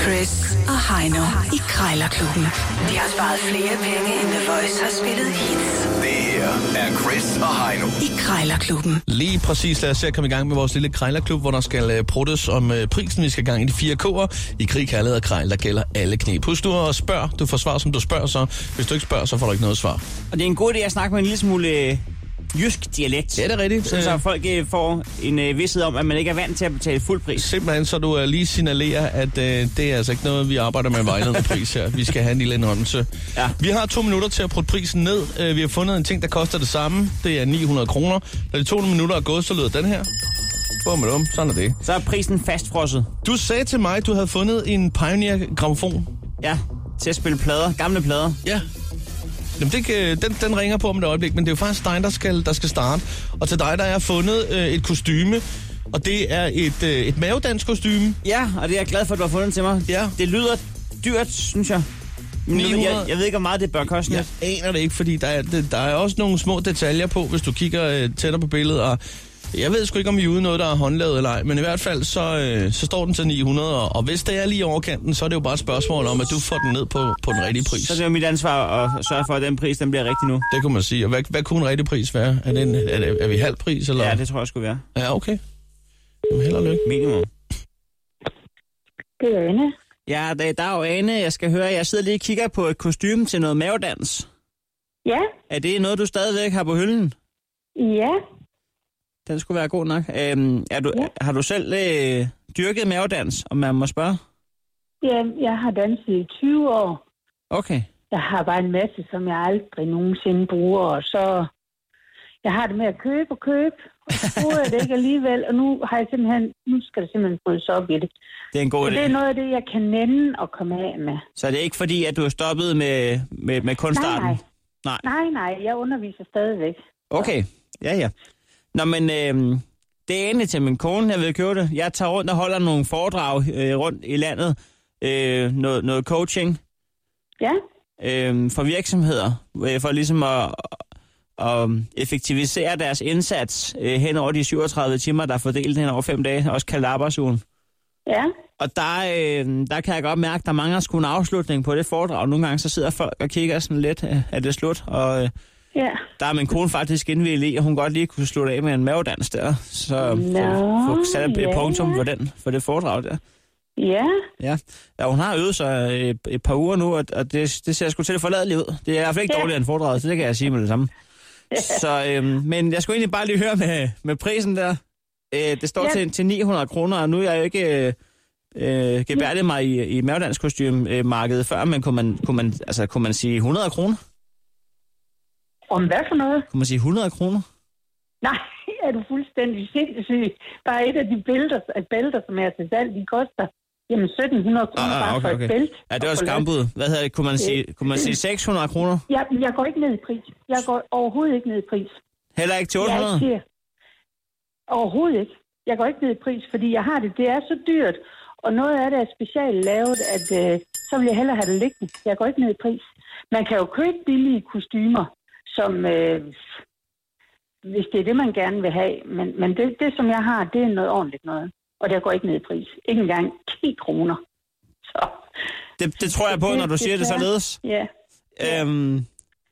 Chris og Heino i Krejlerklubben. De har sparet flere penge, end The Voice har spillet hits Det her er Chris og Heino. i Krejlerklubben. Lige præcis, lad os se at komme i gang med vores lille krejlerklub, hvor der skal øh, pruttes om øh, prisen. Vi skal i gang i de fire k'er. I krig, kærlighed og krejl, der gælder alle knep. Husk nu at spørge. Du får svar, som du spørger, så hvis du ikke spørger, så får du ikke noget svar. Og det er en god idé at snakke med en lille smule øh, jysk dialekt. Ja, det er rigtigt. Sådan, så Øh. folk øh, får en øh, vidshed om, at man ikke er vant til at betale fuld pris. Simpelthen, så du øh, lige signalerer, at øh, det er altså ikke noget, vi arbejder med vejledende pris her. Vi skal have en lille indrømmelse. Ja. Vi har to minutter til at putte prisen ned. Øh, vi har fundet en ting, der koster det samme. Det er 900 kroner. Når de to minutter er gået, så lyder den her. Bum, bum. Sådan er det. Så er prisen fastfrosset. Du sagde til mig, at du havde fundet en Pioneer gramofon. Ja, til at spille plader. Gamle plader. Ja. Jamen, det, kan- den, den ringer på om et øjeblik, men det er jo faktisk dig, der skal, der skal starte. Og til dig, der er fundet øh, et kostyme, og det er et, øh, et mavedansk kostyme. Ja, og det er jeg glad for, at du har fundet til mig. Ja. Det lyder dyrt, synes jeg. Men jeg, 900. jeg, jeg ved ikke, hvor meget det bør koste. Jeg aner det ikke, fordi der er, det- der er også nogle små detaljer på, hvis du kigger øh, tættere på billedet. Og jeg ved sgu ikke, om I er ude i noget, der er håndlavet eller ej, men i hvert fald, så, øh, så står den til 900, og, og hvis det er lige over kanten, så er det jo bare et spørgsmål om, at du får den ned på, på den rigtige pris. Så er det jo mit ansvar at sørge for, at den pris den bliver rigtig nu. Det kunne man sige. Og hvad, hvad kunne en rigtig pris være? Er, det en, er, det, er vi halv pris, eller? Ja, det tror jeg skulle være. Ja, okay. Jamen, held og lykke. Minimum. Det er Anne. Ja, det er dag, Ane. Jeg skal høre, jeg sidder lige og kigger på et kostume til noget mavedans. Ja, Er det noget, du stadigvæk har på hylden? ja, Den skulle være god nok. Øhm, er du, ja. Har du selv øh, dyrket mavedans, om man må spørge? ja. Jeg har danset i 20 år. Okay. Jeg har bare en masse, som jeg aldrig nogensinde bruger, og så... Jeg har det med at købe og købe, og så bruger jeg det ikke alligevel, og nu har jeg simpelthen... Nu skal det simpelthen brydes op i det. Det er en Så god det er idé. noget af det, jeg kan nænde at komme af med. Så det er ikke fordi, at du er stoppet med, med, med kunstarten? Nej, nej. Nej. Nej, nej, jeg underviser stadigvæk. Okay. Ja, ja. Nå, men øhm, det er egentlig til min kone, jeg vil købe det. Jeg tager rundt og holder nogle foredrag øh, rundt i landet. Øh, noget, noget coaching. Ja, øh, for virksomheder, øh, for ligesom at, at effektivisere deres indsats øh, hen over de 37 timer, der er fordelt hen over fem dage, også kaldt arbejdsugen. ja, Og der, øh, der kan jeg godt mærke, at der mangler sgu en afslutning på det foredrag. Nogle gange så sidder folk og kigger sådan lidt, øh, er det slut? Og øh, ja. der er min kone faktisk indvillig i, at hun godt lige kunne slutte af med en mavedans der. Så få- få sat et ja. punktum for, den, for det foredrag der. Ja, Ja. ja, hun har øvet sig øh, et, et par uger nu, og, og det, det ser sgu til at forladeligt ud. Det er i hvert fald ikke Ja. dårligere end foredraget, så det kan jeg sige med det samme. Så, øhm, men jeg skulle egentlig bare lige høre med, med prisen der. Øh, det står Ja. ja. til, til 900 kroner, og nu er jeg jo ikke øh, øh, gebærdet mig i, i mavedanskostymemarkedet før, men kunne man, kunne, man, altså, kunne man sige 100 kroner? om hvad for noget? Kunne man sige 100 kroner? Nej, er du fuldstændig sindssyg? Bare et af de bælter, at bælter som er til salg, de koster jamen 1700 kroner Ah, bare for et bælte. Ja, det var Og et for lad- skambud. Hvad hedder det? Kunne man sige, kunne man sige 600 kroner? Jeg, jeg går ikke ned i pris. Jeg går overhovedet ikke ned i pris. Heller ikke til Jeg 800? siger, overhovedet ikke. Jeg går ikke ned i pris, fordi jeg har det. Det er så dyrt. Og noget af det er specielt lavet, at øh, så vil jeg hellere have det liggende. Jeg går ikke ned i pris. Man kan jo købe billige kostymer, som øh, hvis det er det, man gerne vil have. Men, men det, det, som jeg har, det er noget ordentligt noget. Og der går ikke ned i pris. Ikke engang 10 kroner. Så Det, det tror jeg på, når du siger det således. ja, Øhm,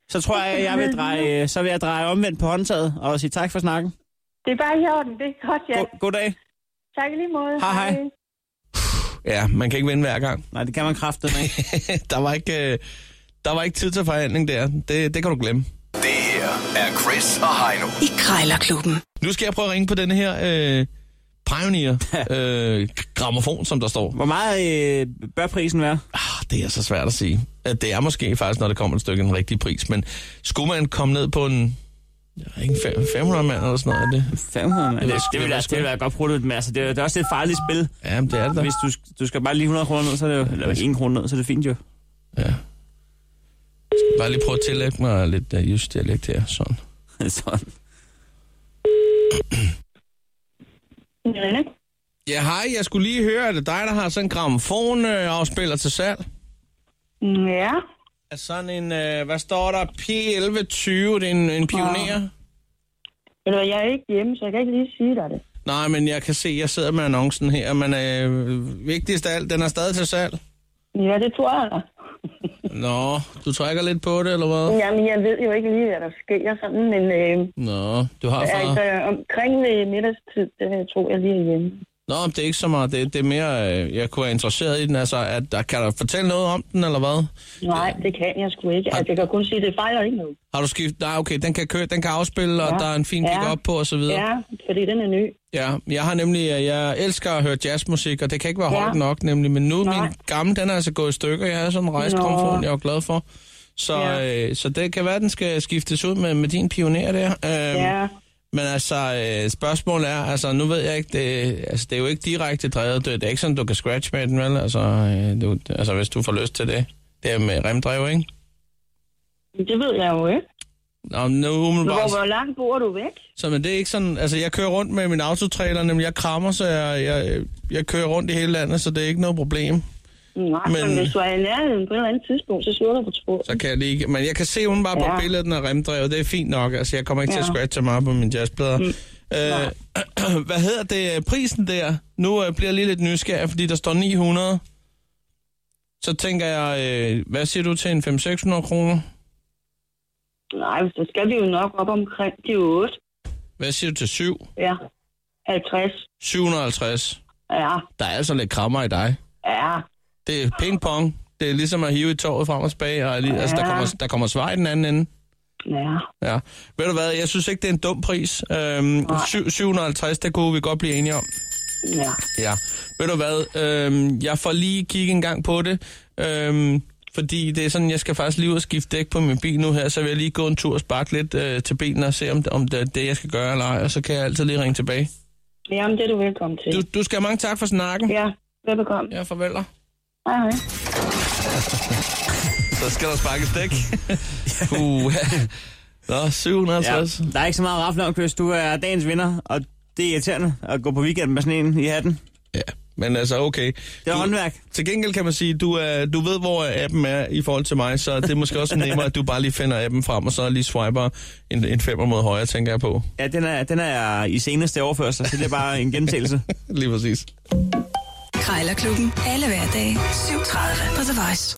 så tror jeg, jeg vil dreje, så vil jeg dreje omvendt på håndtaget og sige tak for snakken. det er bare i orden. Det er godt, ja. God, god dag. Tak i lige måde. Hej, hej. Ja, man kan ikke vinde hver gang. Nej, det kan man kraftedeme ikke. der, var ikke, øh, der var ikke tid til forhandling der. Det, det kan du glemme. Det her er Chris og Heino. I Krejlerklubben. Nu skal jeg prøve at ringe på den her øh, Pioneer øh, gramofon, som der står. Hvor meget øh, bør prisen være? Ah, det er så svært at sige. At Det er måske faktisk, når det kommer et stykke, en rigtig pris. Men skulle man komme ned på en... Jeg ved ikke, fem- 500 mand eller sådan noget af det. 500, mand. Det Det, er det, sgu- det, vil, det er jeg, sgu- det vil jeg godt bruge lidt med. Altså, det, er- det er også et farligt spil. Ja, men det er det da. Hvis du, du skal bare lige 100 kroner ned, så er det jo, eller 1 krone ned, så er det fint jo. Ja. Jeg skal bare lige prøve at tillægge mig lidt uh, just dialekt her. Sådan. Sådan. Irene? Ja, hej. Jeg skulle lige høre, er det dig, der har sådan en gramofon-afspiller til salg? Ja, Er sådan en, øh, hvad står der, P1120, det er en, en pioner? Ah. Ved du hvad, jeg er ikke hjemme, så jeg kan ikke lige sige dig det. Nej, men jeg kan se, jeg sidder med annoncen her, men øh, vigtigst af alt, den er stadig til salg. Ja, det tror jeg. da. Nå, du trækker lidt på det, eller hvad? Jamen, jeg ved jo ikke lige, hvad der sker sådan, men øh, Nå, du har altså, far. omkring ved middagstid, der tror jeg lige er hjemme. Nå, men det er ikke så meget. Det, det er mere, øh, jeg kunne være interesseret i den. Altså, at, der, kan du fortælle noget om den, eller hvad? Nej, det kan jeg sgu ikke. Altså, jeg kan kun sige, at det fejler ikke noget. Har du skiftet? Nej, okay, den kan køre, den kan afspille, og Ja. der er en fin gik Ja. op på, og så videre. Ja, fordi den er ny. Ja, jeg har nemlig, øh, jeg elsker at høre jazzmusik, og det kan ikke være Ja. højt nok nemlig, men nu Nej. Nej. min gamle, den er altså gået i stykker, jeg havde sådan en rejskromfon, Nå. jeg var glad for. Så, Ja. ja. øh, så det kan være, den skal skiftes ud med, med din pioner der. Øhm, Ja, Men altså, øh, spørgsmålet er, altså nu ved jeg ikke, det, altså, det er jo ikke direkte drevet, det, det er ikke sådan, du kan scratch med den, vel? Altså, øh, du, altså hvis du får lyst til det. Det er med remdrev, ikke? det ved jeg jo ikke. Nå, men nu Hvor, umiddelbart, hvor langt bor du væk? Så men det er ikke sådan, altså jeg kører rundt med min autotrailer, nemlig jeg krammer, så jeg, jeg, jeg kører rundt i hele landet, så det er ikke noget problem. Nej, men... Men- men hvis du er i nærheden på et eller andet tidspunkt, så slutter du på sporet. Så kan jeg lige, men jeg kan se hun bare på ja. Ja. billedet, den er remdrevet, det er fint nok, altså jeg kommer ikke ja. til at Ja. scratche meget på mine jazzplader. Mm. Øh, hvad hedder det, prisen der? Nu øh, bliver jeg lige lidt nysgerrig, fordi der står 900. Så tænker jeg, øh, hvad siger du til en 500-600 kroner? Nej, så skal vi jo nok op omkring de 8. Hvad siger du til 7? Ja. 50. 750. Ja, Der er altså lidt krammer i dig. ja. Det er ping-pong. Det er ligesom at hive i toget frem og tilbage, og lige, ja. altså, der, Ja. kommer, der kommer svar i den anden ende. Ja, Ja. Ved du hvad, jeg synes ikke, det er en dum pris. Øhm, syv- 750, det kunne vi godt blive enige om. ja. Ja. Ved du hvad, øhm, jeg får lige kigge en gang på det, øhm, fordi det er sådan, jeg skal faktisk lige ud og skifte dæk på min bil nu her, så vil jeg lige gå en tur og sparke lidt øh, til benene og se, om, om det er det, jeg skal gøre eller ej, og så kan jeg altid lige ringe tilbage. Jamen, det er du velkommen til. Du, du skal have mange tak for snakken. Ja, velbekomme. Ja, farvel dig. Hej, hej. Så skal der sparkes dæk. uh, Nå, 750. Ja. Der er ikke så meget rafle om, Chris. Du er dagens vinder, og det er irriterende at gå på weekend med sådan en i hatten. ja. Men altså, okay. Det er Du- håndværk. Til gengæld kan man sige, du, er, du ved, hvor appen er i forhold til mig, så det er måske også nemmere, at du bare lige finder appen frem, og så lige swiper en, en femmer mod højre, tænker jeg på. Ja, den er, den er i seneste overførsel, så det er bare en gentagelse. Lige præcis. Krejlerklubben. Alle hverdage. 7.30 på The Voice.